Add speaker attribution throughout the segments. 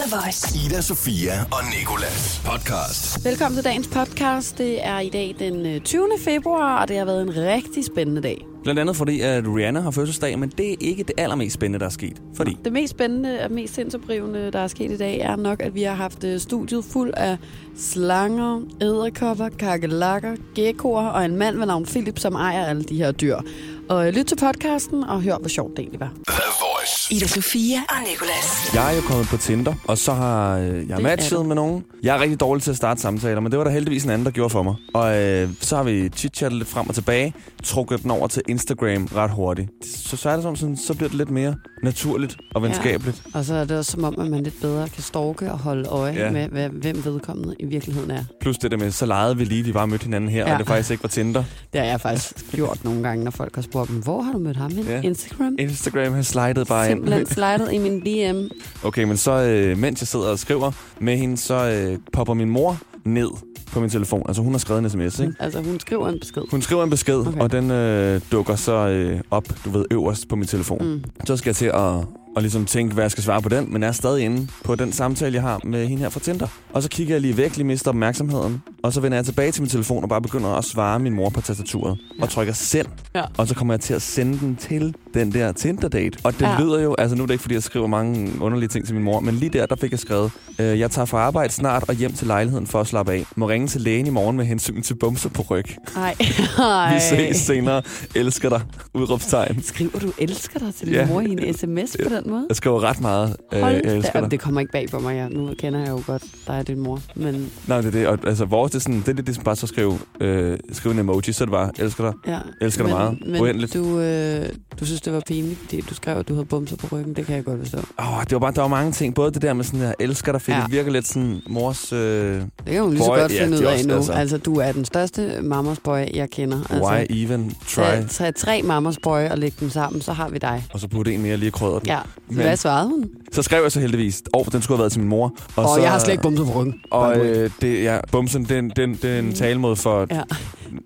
Speaker 1: The Voice.
Speaker 2: Ida, Sofia og Nikolas podcast.
Speaker 3: Velkommen til dagens podcast. Det er i dag den øh, 20. februar, og det har været en rigtig spændende dag.
Speaker 4: Blandt andet fordi, at Rihanna har fødselsdag, men det er ikke det allermest spændende, der er sket. Fordi
Speaker 3: Det mest spændende og mest sindsoprivende, der er sket i dag, er nok, at vi har haft øh, studiet fuld af slanger, æderkopper, kakelakker, geckoer og en mand ved navn Philip, som ejer alle de her dyr. Og øh, lyt til podcasten og hør, hvor sjovt det egentlig var.
Speaker 2: The Voice.
Speaker 1: Ida Sofia og Nicolas.
Speaker 4: jeg er jo kommet på Tinder, og så har øh, jeg
Speaker 3: er
Speaker 4: matchet
Speaker 3: du.
Speaker 4: med nogen. Jeg er rigtig dårlig til at starte samtaler, men det var der heldigvis en anden, der gjorde for mig. Og øh, så har vi chitchattet lidt frem og tilbage, trukket den over til Instagram ret hurtigt. Så, så er det som sådan, så bliver det lidt mere naturligt og venskabeligt.
Speaker 3: Og så er det også som om, at man lidt bedre kan storke og holde øje ja.
Speaker 4: Ja.
Speaker 3: med, hvad- hvem vedkommende i virkeligheden er.
Speaker 4: Plus det der med, så legede vi lige, de bare mødte hinanden her,
Speaker 3: Ja.
Speaker 4: og det faktisk ikke var Tinder.
Speaker 3: Det har jeg faktisk gjort nogle gange, når folk har spurgt dem, hvor har du mødt ham hen?
Speaker 4: Ja.
Speaker 3: Instagram?
Speaker 4: Instagram har slidet bare ind.
Speaker 3: Simpelthen slidet i min DM.
Speaker 4: Okay, men så øh, mens jeg sidder og skriver med hende, så øh, popper min mor ned på min telefon. Altså hun har skrevet en sms, ikke?
Speaker 3: Altså, hun skriver en besked.
Speaker 4: Hun skriver en besked,
Speaker 3: Okay.
Speaker 4: okay. og den øh, dukker så øh, op, du ved, øverst på min telefon. Mm.
Speaker 3: Mm.
Speaker 4: Så skal jeg til at, at ligesom tænke, hvad jeg skal svare på den, men er stadig inde på den samtale, jeg har med hende her fra Tinder. Og så kigger jeg lige væk, lige mister opmærksomheden, og så vender jeg tilbage til min telefon og bare begynder at svare min mor på tastaturet.
Speaker 3: Ja.
Speaker 4: Og trykker send,
Speaker 3: Ja.
Speaker 4: og så kommer jeg til at sende den til den der Tinder-date. Og det
Speaker 3: Ja.
Speaker 4: ja. lyder jo, altså nu er det ikke, fordi jeg skriver mange underlige ting til min mor, men lige der, der fik jeg skrevet, øh, jeg tager fra arbejde snart og hjem til lejligheden for at slappe af. Må ringe til lægen i morgen med hensyn til bumser på ryg.
Speaker 3: Ej, ej.
Speaker 4: Vi ses senere. Elsker dig. Udråbstegn.
Speaker 3: Skriver du elsker dig til din
Speaker 4: Ja.
Speaker 3: mor i en sms på den måde?
Speaker 4: Jeg skriver ret meget. øh,
Speaker 3: Hold
Speaker 4: jeg
Speaker 3: da
Speaker 4: elsker
Speaker 3: op,
Speaker 4: dig.
Speaker 3: det kommer ikke bag på mig. Ja. Nu kender jeg jo godt dig og din mor. Men
Speaker 4: Nej, men det er det. Og, altså, vores, det er sådan, det er lidt ligesom bare så skrive, øh, skrive en emoji, så det var, elsker dig.
Speaker 3: ja.
Speaker 4: Elsker
Speaker 3: men,
Speaker 4: dig meget.
Speaker 3: Men
Speaker 4: Uendeligt.
Speaker 3: du, øh, du synes, det var pinligt, fordi du skrev, at du havde bumser på ryggen. Det kan jeg godt forstå.
Speaker 4: Åh, det var bare, der var mange ting. Både det der med sådan her, elsker dig, fordi
Speaker 3: Ja.
Speaker 4: ja. det virker lidt sådan mors... Øh,
Speaker 3: Det kan hun lige så
Speaker 4: Boy,
Speaker 3: godt
Speaker 4: ja,
Speaker 3: finde ud
Speaker 4: det er
Speaker 3: af
Speaker 4: også-
Speaker 3: nu. Altså.
Speaker 4: altså.
Speaker 3: altså, du er den største mamas boy, jeg kender. Altså,
Speaker 4: why even
Speaker 3: Tag,
Speaker 4: try?
Speaker 3: tag tre mamas boy og læg dem sammen, så har vi dig.
Speaker 4: Og så putte en mere lige i krødderen.
Speaker 3: Ja.
Speaker 4: Men-
Speaker 3: Hvad svarede hun?
Speaker 4: Så skrev jeg så heldigvis, åh, den skulle have været til min mor.
Speaker 3: Og,
Speaker 4: så,
Speaker 3: jeg har slet ikke bumser på ryggen. by
Speaker 4: Og
Speaker 3: the way.
Speaker 4: øh, det, ja, bumsen, det, er en- det, er en- det er en talemåde for,
Speaker 3: Mm. Ja.
Speaker 4: ja.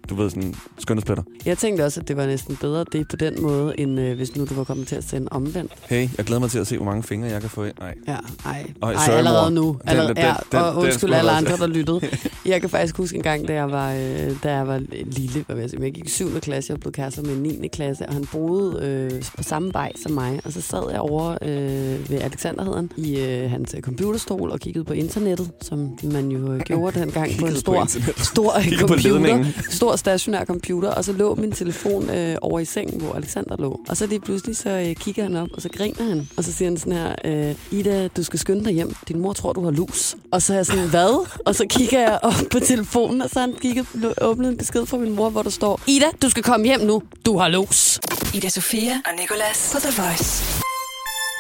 Speaker 4: du ved, sådan skønhedspletter.
Speaker 3: Jeg tænkte også, at det var næsten bedre det på den måde, end øh, hvis nu du var kommet til at sende omvendt.
Speaker 4: Hey, jeg glæder mig til at se, hvor mange fingre jeg kan få ind. Nej.
Speaker 3: Ja, ej,
Speaker 4: Ej,
Speaker 3: ej
Speaker 4: sorry,
Speaker 3: allerede
Speaker 4: mor.
Speaker 3: nu.
Speaker 4: Den-
Speaker 3: Allerede,
Speaker 4: den- den-
Speaker 3: ja, og
Speaker 4: den
Speaker 3: undskyld
Speaker 4: skulle have
Speaker 3: alle
Speaker 4: været
Speaker 3: andre, der lyttede. Jeg kan faktisk huske en gang, da jeg var, øh, da jeg var lille, hvad vil jeg, sige, men jeg gik i 7. klasse, jeg blev kærester med en 9. klasse, og han boede øh, på samme vej som mig. Og så sad jeg over øh, ved Alexanderheden i øh, hans øh, computerstol og kiggede på internettet, som man jo øh, gjorde dengang på en
Speaker 4: Kiggede på
Speaker 3: stor,
Speaker 4: internettet.
Speaker 3: stor øh,
Speaker 4: Kiggede på
Speaker 3: computer.
Speaker 4: ledningen.
Speaker 3: stor stationær computer, og så lå min telefon øh, over i sengen, hvor Alexander lå. Og så lige pludselig, så øh, kigger han op, og så griner han. Og så siger han sådan her, øh, Ida, du skal skynde dig hjem. Din mor tror, du har lus. Og så er jeg sådan, hvad? Og så kigger jeg op på telefonen, og så har han kigget, åbnet en besked fra min mor, hvor der står, Ida, du skal komme hjem nu. Du har lus.
Speaker 1: Ida Sofia og Nicolas på The Voice.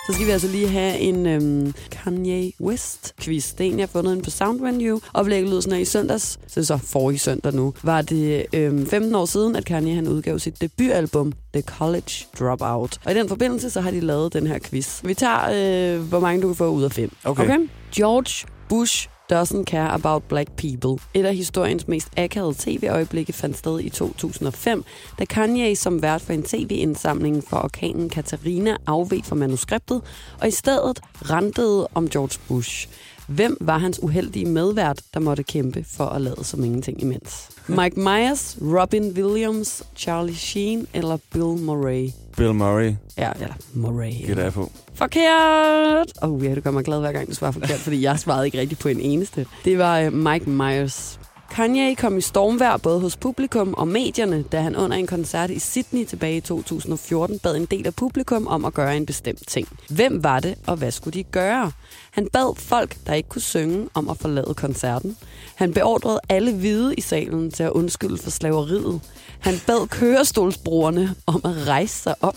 Speaker 3: Så skal vi altså lige have en øhm, Kanye West-quiz. Det er en, jeg har fundet ind på Soundvenue. Oplægget lyder sådan her i søndags, så det er så forrige søndag nu, var det øhm, 15 år siden, at Kanye han udgav sit debutalbum, The College Dropout. Og i den forbindelse, så har de lavet den her quiz. Vi tager, øh, hvor mange du kan få ud af fem.
Speaker 4: Okay.
Speaker 3: okay? George Bush Doesn't Care About Black People. Et af historiens mest akavede tv-øjeblikke fandt sted i 2005, da Kanye som vært for en tv-indsamling for orkanen Katarina afved fra manuskriptet, og i stedet rentede om George Bush. Hvem var hans uheldige medvært, der måtte kæmpe for at lade som ingenting imens? Mike Myers, Robin Williams, Charlie Sheen eller Bill Murray?
Speaker 4: Bill Murray,
Speaker 3: Ja, eller Murray.
Speaker 4: gætter jeg på.
Speaker 3: Forkert! Åh, oh, ja, du gør mig glad, hver gang du svarer forkert, fordi jeg svarede ikke rigtigt på en eneste. Det var øh, Mike Myers. Kanye kom i stormvær både hos publikum og medierne, da han under en koncert i Sydney tilbage i 2014 bad en del af publikum om at gøre en bestemt ting. Hvem var det, og hvad skulle de gøre? Han bad folk, der ikke kunne synge, om at forlade koncerten. Han beordrede alle hvide i salen til at undskylde for slaveriet. Han bad kørestolsbrugerne om at rejse sig op.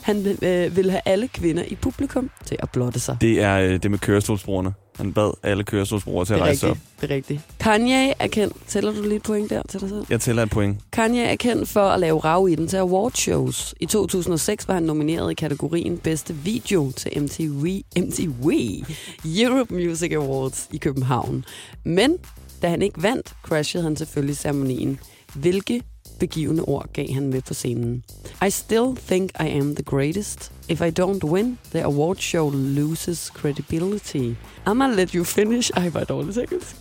Speaker 3: Han øh, ville have alle kvinder i publikum til at blotte sig.
Speaker 4: Det er øh, det med kørestolsbrugerne. Han bad alle kørestolsbrugere til at rejse sig op.
Speaker 3: det er rigtigt. Kanye er kendt. Tæller du lige et point der til dig selv?
Speaker 4: Jeg tæller et point.
Speaker 3: Kanye er kendt for at lave rav i den til awardshows. I 2006 var han nomineret i kategorien bedste video til MTV, MTV Europe Music Awards i København. Men da han ikke vandt, crashede han selvfølgelig ceremonien. Hvilke begivende ord gav han med på scenen. I still think I am the greatest. If I don't win, the award show loses credibility. I'ma let you finish. Ej, hvor dårligt engelsk.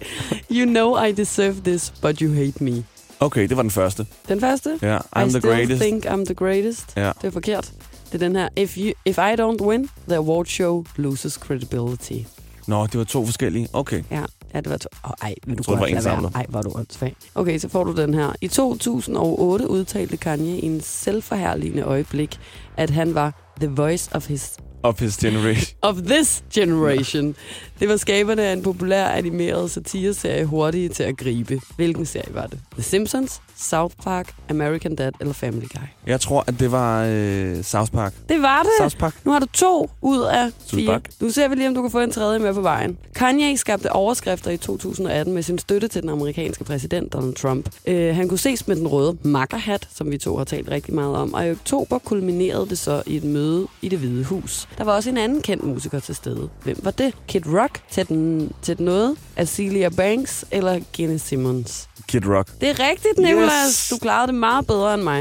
Speaker 3: You know I deserve this, but you hate me.
Speaker 4: Okay, det var den første.
Speaker 3: Den første.
Speaker 4: Ja,
Speaker 3: I
Speaker 4: I'm the
Speaker 3: still
Speaker 4: greatest.
Speaker 3: think I'm the greatest.
Speaker 4: Ja.
Speaker 3: Det er forkert. Det er den her. If, you, if I don't win, the award show loses credibility.
Speaker 4: Nå, det var to forskellige. Okay.
Speaker 3: Ja, ja det var to. Oh, ej, vil du
Speaker 4: troede, det var
Speaker 3: godt lade være?
Speaker 4: indsamlet.
Speaker 3: Ej, var du åndssvag. Okay, så får du den her. I 2008 udtalte Kanye i en selvforherligende øjeblik, at han var the voice of his
Speaker 4: Up his generation.
Speaker 3: of this generation. Det var skaberne af en populær animeret satireserie Hurtige til at gribe. Hvilken serie var det? The Simpsons, South Park, American Dad eller Family Guy?
Speaker 4: Jeg tror, at det var øh, South Park.
Speaker 3: Det var det.
Speaker 4: South Park.
Speaker 3: Nu har du to ud af fire.
Speaker 4: Sydbak.
Speaker 3: Nu ser vi lige, om du kan få en tredje med på vejen. Kanye skabte overskrifter i 2018 med sin støtte til den amerikanske præsident Donald Trump. Øh, han kunne ses med den røde makkerhat, som vi to har talt rigtig meget om, og i oktober kulminerede det så i et møde i det hvide hus. Der var også en anden kendt musiker til stede. Hvem var det? Kid Rock, Ted, Ted Noget, Azealia Banks eller Gene Simmons?
Speaker 4: Kid Rock.
Speaker 3: Det er rigtigt, Nicolas.
Speaker 4: Yes.
Speaker 3: Du klarede det meget bedre end mig.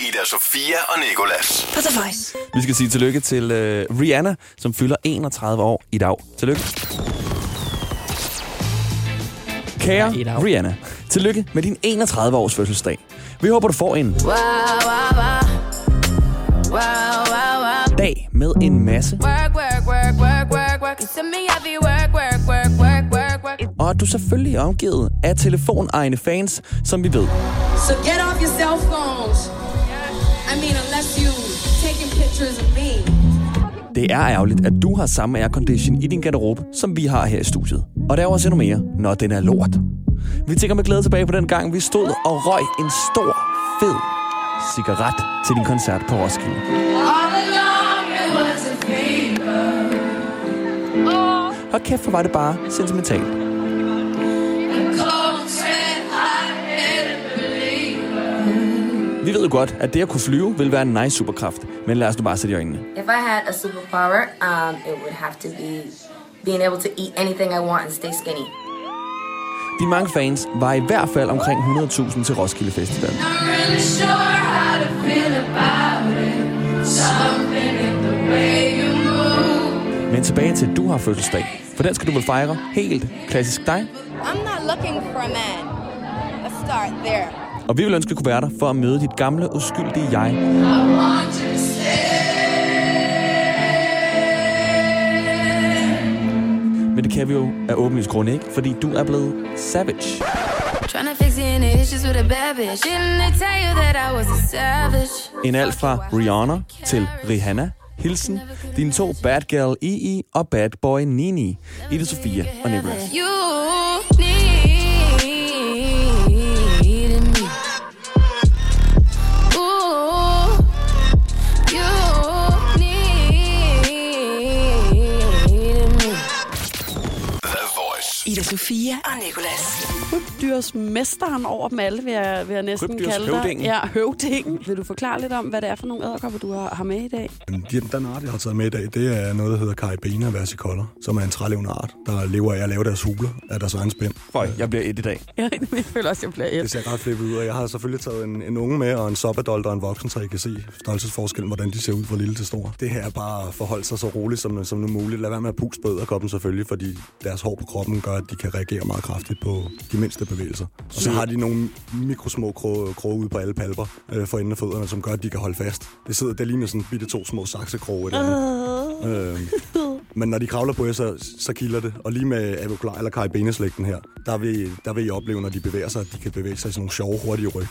Speaker 2: Ida Sofia og Nikolas.
Speaker 1: På The Voice.
Speaker 4: Vi skal sige tillykke til øh, Rihanna, som fylder 31 år i dag. Tillykke. Kære
Speaker 3: Ja, i dag.
Speaker 4: Rihanna, tillykke med din 31-års fødselsdag. Vi håber, du får en dag med en masse,
Speaker 5: Work, work, work, work, work, work. You send me heavy work, work, work, work, work, work.
Speaker 4: og at du selvfølgelig er omgivet af telefonegne fans, som vi ved.
Speaker 6: So get off your cell phones. I mean, unless you taking pictures of me.
Speaker 4: Det er ærgerligt, at du har samme aircondition i din garderobe, som vi har her i studiet. Og der er også endnu mere, når den er lort. Vi tænker med glæde tilbage på den gang, vi stod og røg en stor, fed cigaret til din koncert på Roskilde.
Speaker 5: All along it was a fever.
Speaker 4: Og kæft, hvor var det bare sentimentalt.
Speaker 5: Cold sweat, I didn't believe.
Speaker 4: Vi ved jo godt, at det at kunne flyve vil være en nice superkraft, men lad os nu bare sætte i øjnene.
Speaker 7: If I had a superpower, um, it would have to be being able to eat anything I want and stay skinny.
Speaker 4: De mange fans var i hvert fald omkring 100.000 til Roskilde Festival.
Speaker 5: Not really sure how to feel about it. Something in the way you move.
Speaker 4: Men tilbage til, at du har fødselsdag, for den skal du vel fejre helt klassisk dig.
Speaker 6: I'm not looking for a man. Let's start there.
Speaker 4: Og vi vil ønske at kunne være der for at møde dit gamle, uskyldige jeg,
Speaker 5: I want you to stay.
Speaker 4: Men det kan vi jo af åbenlyst grund ikke, fordi du er blevet savage.
Speaker 5: Tryna fix your inner issues with a bad bitch. Didn't they tell you that I was a savage?
Speaker 4: En alt fra Rihanna til Rihanna. Hilsen, dine to bad girl II og bad boy Nini. Ida Sofia og Nicholas.
Speaker 5: You needed me. Ooh, you needed me.
Speaker 2: The Voice.
Speaker 1: Ida Sofia og Nicolas.
Speaker 3: krybdyrsmesteren over dem alle, vil jeg, vil jeg næsten
Speaker 4: Krybdyrs
Speaker 3: kalde dig.
Speaker 4: høvdingen.
Speaker 3: Ja, høvdingen. Vil du forklare lidt om, hvad det er for nogle æderkopper, du har, har med i dag?
Speaker 8: Den, den art, jeg har taget med i dag, det er noget, der hedder Caribena versicolor, som er en trælevende art, der lever af at lave deres huler af deres egen spænd.
Speaker 4: Føj, jeg bliver et i dag.
Speaker 3: Jeg føler også, jeg bliver
Speaker 8: Det
Speaker 3: et.
Speaker 8: ser ret flippet ud, og jeg har selvfølgelig taget en, en unge med, og en subadolt og en voksen, så I kan se størrelsesforskellen, hvordan de ser ud fra lille til stor. Det her er bare at forholde sig så roligt som, som nu muligt. Lad være med at puste på æderkoppen selvfølgelig, fordi deres hår på kroppen gør, at de kan reagere meget kraftigt på de mindste bevægelser. Og så har de nogle mikrosmå kroge, kroge ude på alle palper øh, for enden af fødderne, som gør, at de kan holde fast. Det sidder, det ligner sådan bitte to små saksekroge. Uh. Øh, men når de kravler på jer, så, så kilder det. Og lige med Avocular eller Caribeneslægten her, der vil, der vil I opleve, når de bevæger sig, at de kan bevæge sig i sådan nogle sjove, hurtige ryg.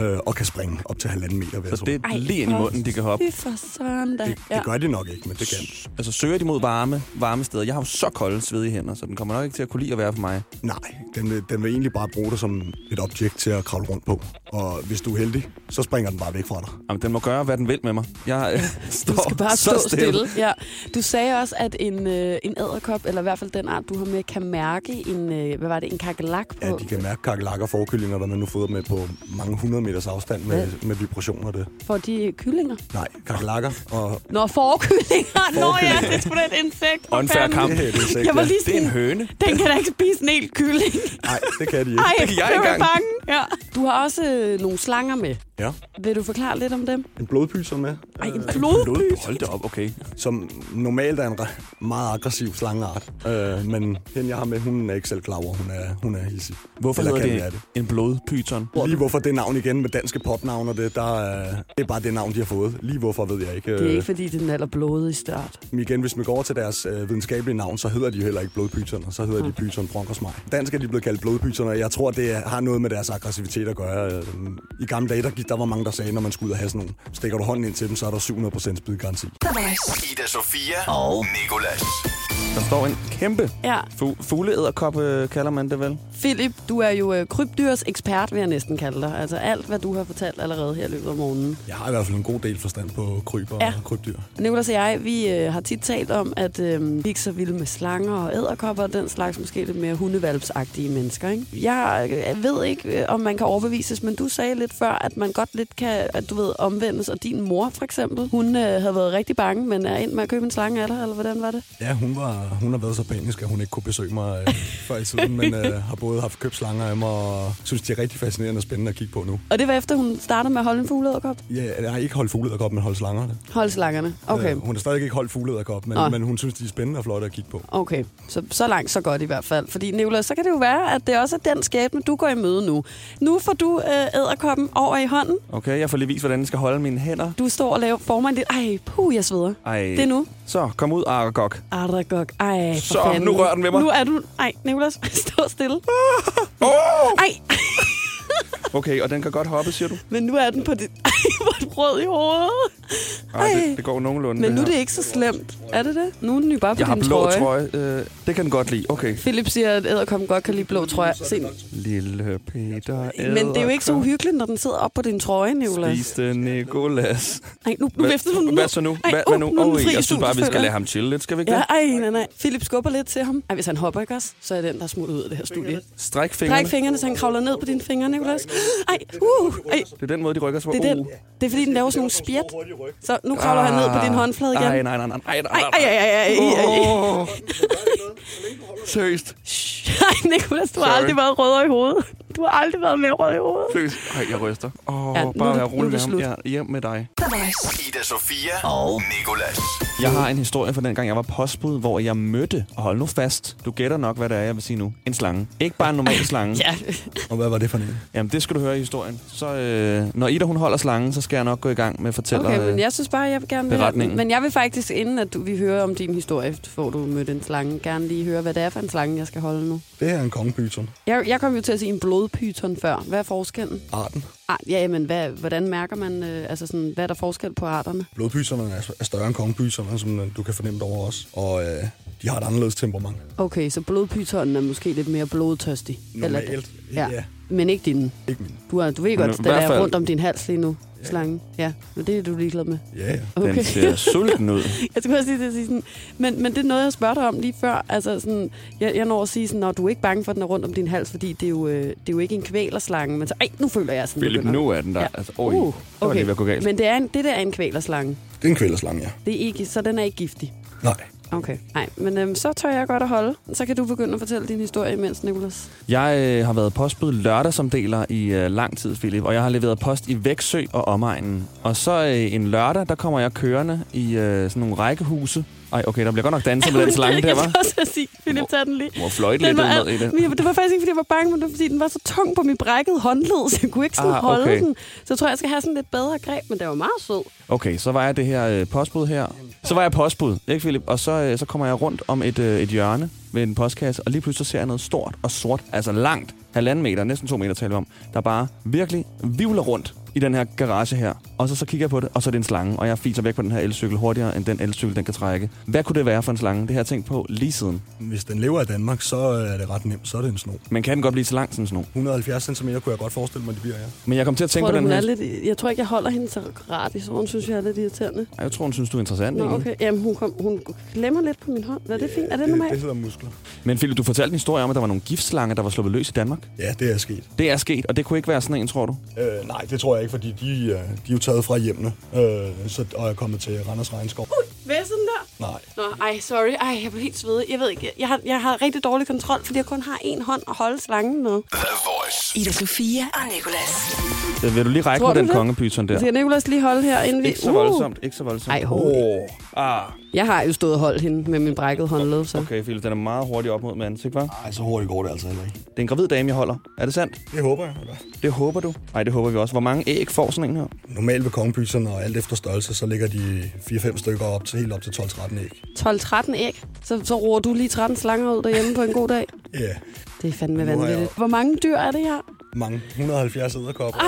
Speaker 8: Øh, og kan springe op til halvanden meter, vil jeg
Speaker 4: Så
Speaker 8: tro.
Speaker 4: det er lige ind i munden, de kan hoppe.
Speaker 3: Fy for søren da.
Speaker 8: det, det gør de nok ikke, men det kan.
Speaker 4: Altså søger de mod varme, varme steder. Jeg har jo så kolde, svedige hænder, så den kommer nok ikke til at kunne lide at være for mig.
Speaker 8: Nej, den vil, den vil egentlig bare bruge dig som et objekt til at kravle rundt på. Og hvis du er heldig, så springer den bare væk fra dig.
Speaker 4: Jamen, den må gøre, hvad den vil med mig. Jeg øh, står
Speaker 3: Du skal bare
Speaker 4: så
Speaker 3: stå stille. Ja. Du sagde også, at en, øh, en æderkop, eller i hvert fald den art, du har med, kan mærke en, øh, hvad var det, en kakelak på.
Speaker 8: Ja, de kan mærke kakelakker og forkyllinger, hvad man nu fodrer med på mange hundrede meters afstand med, med vibrationer og det.
Speaker 3: Får de kyllinger?
Speaker 8: Nej, kakelakker og...
Speaker 3: Nå, forkyllinger. Nå ja, det er sgu da et insekt. for
Speaker 4: Unfair
Speaker 3: fanden.
Speaker 4: kamp.
Speaker 8: Det er et insekt,
Speaker 3: Jeg var
Speaker 8: ja.
Speaker 3: lige
Speaker 4: Det er en
Speaker 3: sådan,
Speaker 4: høne.
Speaker 3: den kan da ikke spise en hel kylling.
Speaker 8: Nej, det kan de ikke.
Speaker 3: Ej,
Speaker 4: Det kan jeg
Speaker 3: jeg
Speaker 4: ikke
Speaker 3: er
Speaker 4: engang.
Speaker 3: bange. Ja. Du har også øh, nogle slanger med.
Speaker 8: Ja.
Speaker 3: Vil du forklare lidt om dem?
Speaker 8: En blodpyser med.
Speaker 3: Ej, en
Speaker 8: Øh,
Speaker 3: blodpyser?
Speaker 8: Hold da op, okay. Som normalt er en re- meget aggressiv slangeart. Øh, men hende, jeg har med, hun er ikke selv klar over, hun er, hun er hissig.
Speaker 4: Hvorfor
Speaker 8: Eller kan
Speaker 4: hedder
Speaker 8: være
Speaker 4: det, det en blodpyton?
Speaker 8: Lige hvorfor det navn igen med danske popnavn og det, der, øh, det er bare det navn, de har fået. Lige hvorfor ved jeg ikke.
Speaker 3: Det er
Speaker 8: Øh,
Speaker 3: ikke, fordi det er den allerblodigste art.
Speaker 8: Men igen, hvis man går over til deres øh, videnskabelige navn, så hedder de jo heller ikke blodpytoner, så
Speaker 3: Mm.
Speaker 8: hedder de pyton bronkosmej. Dansk er de blevet kaldt blodpytoner, og jeg tror, det er- har noget med deres aggressivitet at gøre. Øh, I gamle dage, der, gik- der var mange, der sagde, når man skulle ud og have sådan nogle. Stikker du hånden ind til dem, så er der 700% spydgrænse i.
Speaker 1: The Voice.
Speaker 2: Ida Sofia og Nikolas.
Speaker 4: Der står en kæmpe
Speaker 3: Ja.
Speaker 4: fu- fugleæderkop, øh, kalder man det vel?
Speaker 3: Philip, du er jo øh, krybdyrs ekspert, vil jeg næsten kalde dig. Altså alt, hvad du har fortalt allerede her i løbet af morgenen.
Speaker 8: Jeg har i hvert fald en god del forstand på kryber
Speaker 3: Ja.
Speaker 8: ja. og krybdyr.
Speaker 3: Nicolas og jeg, vi øh, har tit talt om, at øh, vi ikke så vilde med slanger og æderkopper og den slags måske lidt mere hundevalpsagtige mennesker. Ikke? Jeg øh, ved ikke, øh, om man kan overbevises, men du sagde lidt før, at man godt lidt kan, at du ved, omvendes. Og din mor for eksempel, hun øh, havde været rigtig bange, men er ind med at købe en slange af dig, eller hvordan var det?
Speaker 8: Ja, hun, var, hun har været så panisk, at hun ikke kunne besøge mig øh, før i tiden, men øh, har både haft købt slanger af mig, og synes, de er rigtig fascinerende og spændende at kigge på nu.
Speaker 3: Og det var efter, hun startede med at holde en fugleæderkop?
Speaker 8: Ja, jeg har ikke holdt fuglederkop, men holdt slanger.
Speaker 3: Holde slangerne. Okay.
Speaker 8: Øh, hun har stadig ikke holdt fuglederkop, men,
Speaker 3: Nå.
Speaker 8: men hun synes, de er spændende og flotte at kigge på.
Speaker 3: Okay, så, så langt, så godt i hvert fald. Fordi Nicolas, så kan det jo være, at det også er den skæbne, du går i møde nu. Nu får du øh, æderkoppen over i hånden.
Speaker 4: Okay, jeg får lige vist, hvordan jeg skal holde mine hænder.
Speaker 3: Du står og laver formand dit. Ej, puh, jeg sveder.
Speaker 4: Ej.
Speaker 3: Det er nu.
Speaker 4: Så, kom ud, Aragog.
Speaker 3: Aragog. Ej, for
Speaker 4: Så,
Speaker 3: fanden.
Speaker 4: nu rører den ved mig.
Speaker 3: Nu er du... Ej, Nicolas, stå stille.
Speaker 4: Oh!
Speaker 3: Ej,
Speaker 4: Okay, og den kan godt hoppe, siger du?
Speaker 3: men nu er den på dit... Ej, hvor er den rød i hovedet.
Speaker 4: Ej,
Speaker 3: Ej.
Speaker 4: det, det går nogenlunde.
Speaker 3: Men nu er
Speaker 4: her.
Speaker 3: det ikke så slemt. Er det det? Nu er den jo bare på
Speaker 4: Jeg har
Speaker 3: din
Speaker 4: blå
Speaker 3: trøje.
Speaker 4: trøje. Øh, det kan den godt lide. Okay.
Speaker 3: Philip siger, at æderkoppen godt kan lide blå trøje. Se,
Speaker 4: Lille Peter
Speaker 3: men det er jo ikke så uhyggeligt, når den sidder op på din trøje, Nicolas.
Speaker 4: Spiste Nikolas.
Speaker 3: Ej, nu, nu vifter du den
Speaker 4: Hvad
Speaker 3: ned.
Speaker 4: så nu?
Speaker 3: Ej,
Speaker 4: Hvad, hvad
Speaker 3: uh,
Speaker 4: nu?
Speaker 3: nu er den
Speaker 4: Åh,
Speaker 3: fri i
Speaker 4: jeg synes bare, vi
Speaker 3: studiet,
Speaker 4: skal
Speaker 3: føler
Speaker 4: lade ham chille lidt, skal vi ikke
Speaker 3: Ja,
Speaker 4: det?
Speaker 3: ej, nej, nej. Philip skubber lidt til ham. Ej, hvis han hopper, ikke også? Så er den, der er smuttet ud af det her studie.
Speaker 4: Stræk fingrene.
Speaker 3: Dræk fingrene, så han kravler ned på dine fingre, Nicolas. Ej, uh, ej.
Speaker 4: Det er den måde, de rykker sig. Uh.
Speaker 3: Det er, den. det er fordi, den laver sådan nogle spjæt. Så nu kravler han ned på din håndflade igen.
Speaker 4: Ah, Nej, nej, nej, nej, nej, nej,
Speaker 3: Ej, ej, ej, ej, ej, ej.
Speaker 4: Åh. Seriøst,
Speaker 3: Shh. Ej, Nicolas, du har
Speaker 4: Sorry.
Speaker 3: aldrig været rød i hovedet. Du har aldrig været mere rød i hovedet.
Speaker 4: seriøst. Ej, jeg ryster.
Speaker 3: Ja,
Speaker 4: Åh,
Speaker 3: nu er
Speaker 4: bare
Speaker 3: det-
Speaker 4: være
Speaker 3: nu er det
Speaker 4: rolig med ham.
Speaker 3: slut.
Speaker 4: Ja, hjem med dig.
Speaker 1: The Voice.
Speaker 2: Ida Sofia og Nikolas.
Speaker 4: Jeg har en historie fra dengang, jeg var postbud, hvor jeg mødte, og hold nu fast, du gætter nok, hvad det er, jeg vil sige nu, en slange. Ikke bare en normal slange.
Speaker 3: Ja,
Speaker 8: Og hvad var det for en?
Speaker 4: Jamen, det skal du høre i historien. Så øh, når Ida, hun holder slangen, så skal jeg nok gå i gang med at fortælle
Speaker 3: okay, men
Speaker 4: øh,
Speaker 3: jeg synes bare, jeg vil gerne vil
Speaker 4: beretningen.
Speaker 3: Men jeg vil faktisk, inden at du, vi hører om din historie, hvor du mødte en slange, gerne lige høre, hvad det er for en slange, jeg skal holde nu.
Speaker 8: Det er en kongepyton.
Speaker 3: Jeg, jeg kom jo til at sige en blodpyton før. Hvad er forskellen?
Speaker 8: Arten.
Speaker 3: Ah, ja, men hvad, hvordan mærker man, øh, altså sådan, hvad er der forskel på arterne?
Speaker 8: Blodpyserne er er større end kongepyserne, som øh, du kan fornemme derovre også. Og øh, de har et anderledes temperament.
Speaker 3: Okay, så blodpytonen er måske lidt mere blodtørstig.
Speaker 8: Normalt,
Speaker 3: ja. ja.
Speaker 8: ja.
Speaker 3: Men ikke din.
Speaker 8: Ikke min.
Speaker 3: Du, har, du ved
Speaker 4: Men
Speaker 3: godt,
Speaker 4: i
Speaker 3: den
Speaker 4: hvert
Speaker 3: er
Speaker 4: fald-
Speaker 3: rundt om din hals lige nu, slangen. Ja, men det er du ligeglad med.
Speaker 8: Ja, ja.
Speaker 3: Okay.
Speaker 4: Den ser sulten ud.
Speaker 3: jeg skulle også lige til at sige sådan, men, men det er noget, jeg spørger dig om lige før. Altså sådan, jeg, jeg når at sige sådan, når du er ikke bange for, at den er rundt om din hals, fordi det er jo, øh, det er jo ikke en kvælerslange. Men så, ej, nu føler jeg sådan,
Speaker 4: Philip,
Speaker 3: begynder-
Speaker 4: nu er den der.
Speaker 3: Ja.
Speaker 4: Altså, oj,
Speaker 3: Uh,
Speaker 4: det var
Speaker 3: okay.
Speaker 4: lige ved at gå galt.
Speaker 3: Men det, er en, det der er en kvælerslange.
Speaker 8: Det er en kvælerslange, ja.
Speaker 3: Det er ikke, så den er ikke giftig.
Speaker 8: Nej.
Speaker 3: Okay. Nej, men øhm, så tør jeg godt at holde. Så kan du begynde at fortælle din historie imens, Nicolas.
Speaker 4: Jeg øh, har været postbud lørdagsomdeler i øh, lang tid, Philip, og jeg har leveret post i Væksø og omegnen. Og så øh, en lørdag, der kommer jeg kørende i øh, sådan nogle rækkehuse. Ej, okay, der bliver godt nok danset med den slange der,
Speaker 3: Jeg
Speaker 4: var.
Speaker 3: skal også sige, Philip, tag den lige.
Speaker 4: Må fløjte lidt
Speaker 3: var,
Speaker 4: den med i det.
Speaker 3: det. det var faktisk ikke, fordi jeg var bange, men det var, fordi den var så tung på min brækkede håndled, så jeg kunne ikke sådan
Speaker 4: Ah,
Speaker 3: holde
Speaker 4: okay.
Speaker 3: den. Så jeg tror, jeg skal have sådan lidt bedre greb, men det var meget sød.
Speaker 4: Okay, så var jeg det her øh, postbud her. Så var jeg postbud, ikke Philip? Og så, øh, så kommer jeg rundt om et, øh, et hjørne ved en postkasse, og lige pludselig så ser jeg noget stort og sort, altså langt, halvanden meter, næsten to meter taler vi om, der bare virkelig vivler rundt i den her garage her. Og så, så kigger jeg på det, og så er det en slange, og jeg fiser væk på den her elcykel hurtigere, end den elcykel, den kan trække. Hvad kunne det være for en slange? Det har jeg tænkt på lige siden.
Speaker 8: Hvis den lever i Danmark, så øh, er det ret nemt. Så er det en sno.
Speaker 4: Man kan den godt blive så lang sådan sådan nogle.
Speaker 8: 170 cm kunne jeg godt forestille mig, det bliver, ja.
Speaker 4: Men jeg kom til at tænke
Speaker 3: Tror
Speaker 4: på
Speaker 3: du,
Speaker 4: den
Speaker 3: hun
Speaker 4: her...
Speaker 3: er lidt, jeg tror ikke, jeg holder hende så gratis, så hun synes, jeg er lidt irriterende.
Speaker 4: Ej, Jeg tror, hun synes, du er interessant.
Speaker 3: Nå,
Speaker 4: egentlig.
Speaker 3: okay. Jamen, hun, kom, hun glemmer lidt på min hånd. Er det fint? Er det
Speaker 8: Det, det
Speaker 3: normalt?
Speaker 8: hedder muskler.
Speaker 4: Men Philip, du fortalte en historie om, at der var nogle giftslanger, der var sluppet løs i Danmark.
Speaker 8: Ja, det er sket.
Speaker 4: Det er sket, og det kunne ikke være sådan en, tror du?
Speaker 8: Øh, nej, det tror jeg ikke, fordi de, øh, de er jo taget fra hjemmene, øh, så, og er kommet til Randers Regnskov.
Speaker 3: Hvad er sådan der?
Speaker 8: Nej.
Speaker 3: Nå, ej, sorry. Ej, jeg blev helt svedig. Jeg ved ikke, jeg har, jeg har rigtig dårlig kontrol, fordi jeg kun har en hånd at holde slangen med.
Speaker 2: The Voice.
Speaker 1: Ida Sofia og Nicolas.
Speaker 4: Øh, Vil du lige række
Speaker 3: Tror
Speaker 4: med
Speaker 3: du
Speaker 4: den
Speaker 3: det?
Speaker 4: kongepyton der?
Speaker 3: Skal Nicolas lige holde her, inden vi...
Speaker 4: Ikke så voldsomt, ikke så voldsomt.
Speaker 3: Ej, hold det.
Speaker 4: Åh, Ah,
Speaker 3: Jeg har jo stået og holdt hende med min brækkede håndled, så...
Speaker 4: okay, Philip, den er meget hurtigt op mod med ansigt, hva'?
Speaker 8: Nej, så hurtigt går det altså heller ikke.
Speaker 4: Det er en gravid dame, jeg holder. Er det sandt?
Speaker 8: Det håber jeg. Eller?
Speaker 4: Det håber du. Nej, det håber vi også. Hvor mange æg får sådan en her?
Speaker 8: Normalt ved kongepyserne og alt efter størrelse, så ligger de 4-5 stykker op til helt op til 12-13 æg.
Speaker 3: 12-13 æg. Så, så roer du lige 13 slanger ud derhjemme på en god dag.
Speaker 8: Ja, yeah.
Speaker 3: Det er fandme
Speaker 8: jeg
Speaker 3: vanvittigt.
Speaker 8: op.
Speaker 3: Hvor mange dyr er det her?
Speaker 8: mange. 170 æderkopper og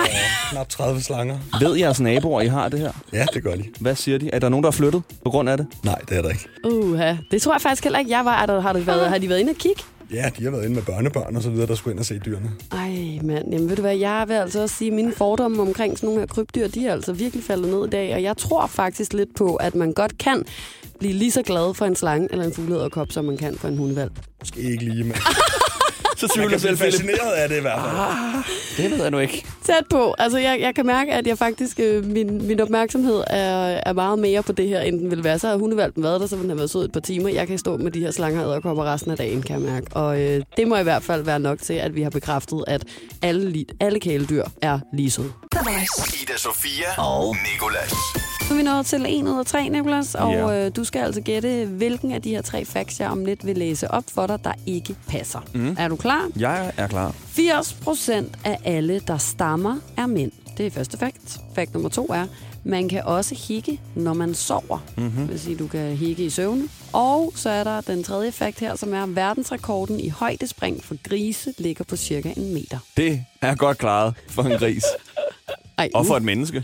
Speaker 8: knap 30 slanger.
Speaker 4: Ved jeres naboer, I har det her?
Speaker 8: Ja, det gør de.
Speaker 4: Hvad siger de? Er der nogen, der er flyttet på grund af det?
Speaker 8: Nej, det er der ikke.
Speaker 3: Uha. Det tror jeg faktisk heller ikke, jeg var. Er der, har, det været, har de været inde og kigge?
Speaker 8: Ja, de har været inde med børnebørn og så videre, der skulle ind og se dyrene.
Speaker 3: Ej, mand. Jamen, ved du hvad, jeg vil altså også sige, at mine fordomme omkring sådan nogle her krybdyr, de er altså virkelig faldet ned i dag. Og jeg tror faktisk lidt på, at man godt kan blive lige så glad for en slange eller en fuglederkop, som man kan for en hundevalp.
Speaker 8: Måske ikke lige, men
Speaker 4: Så
Speaker 8: man kan blive fascineret af det i hvert fald.
Speaker 4: Det ved jeg nu ikke.
Speaker 3: Tæt på. Altså, jeg, jeg kan mærke, at jeg faktisk, øh, min, min opmærksomhed er, er meget mere på det her, end den ville være. Så har hundevalpen været der, så ville den have været sød et par timer. Jeg kan stå med de her slanger og kommer resten af dagen, kan jeg mærke. Og øh, det må i hvert fald være nok til, at vi har bekræftet, at alle, li- alle kæledyr er lige søde.
Speaker 1: The Voice.
Speaker 2: Ida Sofia og Nicolas.
Speaker 3: Nu er vi nået til en ud af tre, Niklas, og
Speaker 4: Ja.
Speaker 3: øh, du skal altså gætte, hvilken af de her tre facts, jeg om lidt vil læse op for dig, der ikke passer. Mm. Er du klar?
Speaker 4: Jeg er klar.
Speaker 3: 80 procent af alle, der stammer, er mænd. Det er første fakt. Fakt nummer to er, man kan også hikke, når man sover.
Speaker 4: Mhm.
Speaker 3: Mm-hmm. Det vil sige, du kan hikke i søvne. Og så er der den tredje fakt her, som er, at verdensrekorden i højdespring for grise ligger på cirka en meter.
Speaker 4: Det er godt klaret for en gris.
Speaker 3: Ej,
Speaker 4: Og for et menneske.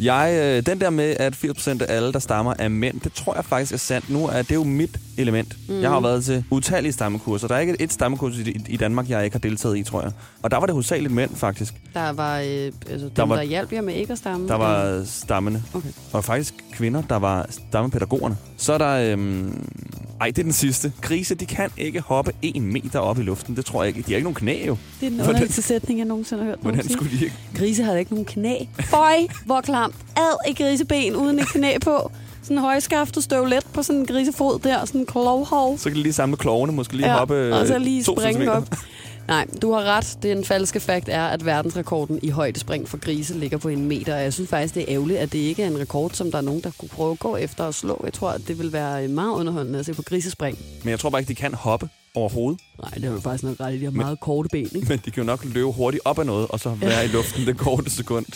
Speaker 4: Jeg, øh, den der med, at 80% af alle, der stammer, er mænd, det tror jeg faktisk er sandt nu. At det er jo mit element. Mm. Jeg har jo været til utallige stammekurser. Der er ikke et stammekurs i, i Danmark, jeg ikke har deltaget i, tror jeg. Og der var det hovedsageligt mænd, faktisk.
Speaker 3: Der var øh, altså, dem, der,
Speaker 4: var-
Speaker 3: var... der hjalp jer med ikke at stamme.
Speaker 4: Der var øh, stammende.
Speaker 3: Okay.
Speaker 4: Og faktisk kvinder, der var stammepædagogerne. Så er der... Øhm, ej, det er den sidste. Grise, de kan ikke hoppe en meter op i luften. Det tror jeg ikke. De har ikke nogen knæ, jo.
Speaker 3: Det er den
Speaker 4: Hvordan-
Speaker 3: underligste sætning, jeg nogensinde har hørt. nogen
Speaker 4: Hvordan
Speaker 3: sige.
Speaker 4: skulle de ikke?
Speaker 3: Grise har da ikke nogen knæ. Føj, hvor klamt. Ad et griseben uden et knæ på. Sådan en højskaftet støvlet på sådan en grisefod der, sådan en klovhov.
Speaker 4: Så kan de lige samle klovene, måske lige hoppe øh,
Speaker 3: og så lige
Speaker 4: to
Speaker 3: springe
Speaker 4: centimeter.
Speaker 3: op. Nej, du har ret. Det er en falske fakt er, at verdensrekorden i højdespring for grise ligger på en meter. Og jeg synes faktisk, det er ærgerligt, at det ikke er en rekord, som der er nogen, der kunne prøve at gå efter og slå. Jeg tror, at det vil være øh, meget underholdende at se på grisespring.
Speaker 4: Men jeg tror bare ikke, de kan hoppe overhovedet.
Speaker 3: Nej, det er jo faktisk nok ret. i. De har meget korte ben, ikke?
Speaker 4: Men de kan jo nok løbe hurtigt op ad noget, og så være i luften det korte sekund.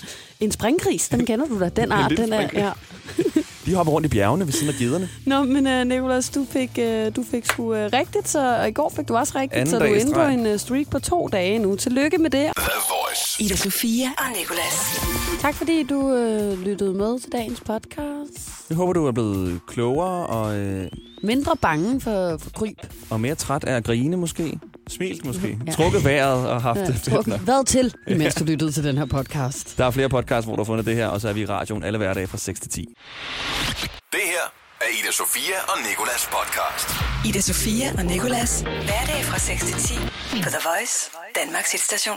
Speaker 3: En springgris, den kender du da. Den
Speaker 4: En
Speaker 3: art,
Speaker 4: lille
Speaker 3: den er...
Speaker 4: springgris.
Speaker 3: Ja.
Speaker 4: De hopper rundt i bjergene ved siden af gederne.
Speaker 3: Nå, men uh, Nicolas, du fik, uh, du fik sgu uh, rigtigt, så og i går fik du også rigtigt,
Speaker 4: Anden
Speaker 3: så du
Speaker 4: dag i
Speaker 3: er inde på
Speaker 4: streg.
Speaker 3: en uh, streak på to dage nu. Tillykke med det.
Speaker 2: The Voice.
Speaker 1: Ida Sofia og Nicolas.
Speaker 3: Tak fordi du uh, lyttede med til dagens podcast.
Speaker 4: Jeg håber, du er blevet klogere og, øh,
Speaker 3: Mindre bange for, for kryb.
Speaker 4: og mere træt af at grine måske. Smilt måske.
Speaker 3: Ja.
Speaker 4: Ja. Trukket vejret og haft det fedt nok.
Speaker 3: Hvad til, mens du lyttede til den her podcast?
Speaker 4: Der er flere podcasts, hvor du har fundet det her, og så er vi i radioen alle hverdage fra 6 til 10.
Speaker 2: Det her er Ida Sofia og Nicolas podcast.
Speaker 1: Ida Sofia og Nicolas. Hverdag fra 6 til 10 på The Voice. Danmarks hitstation.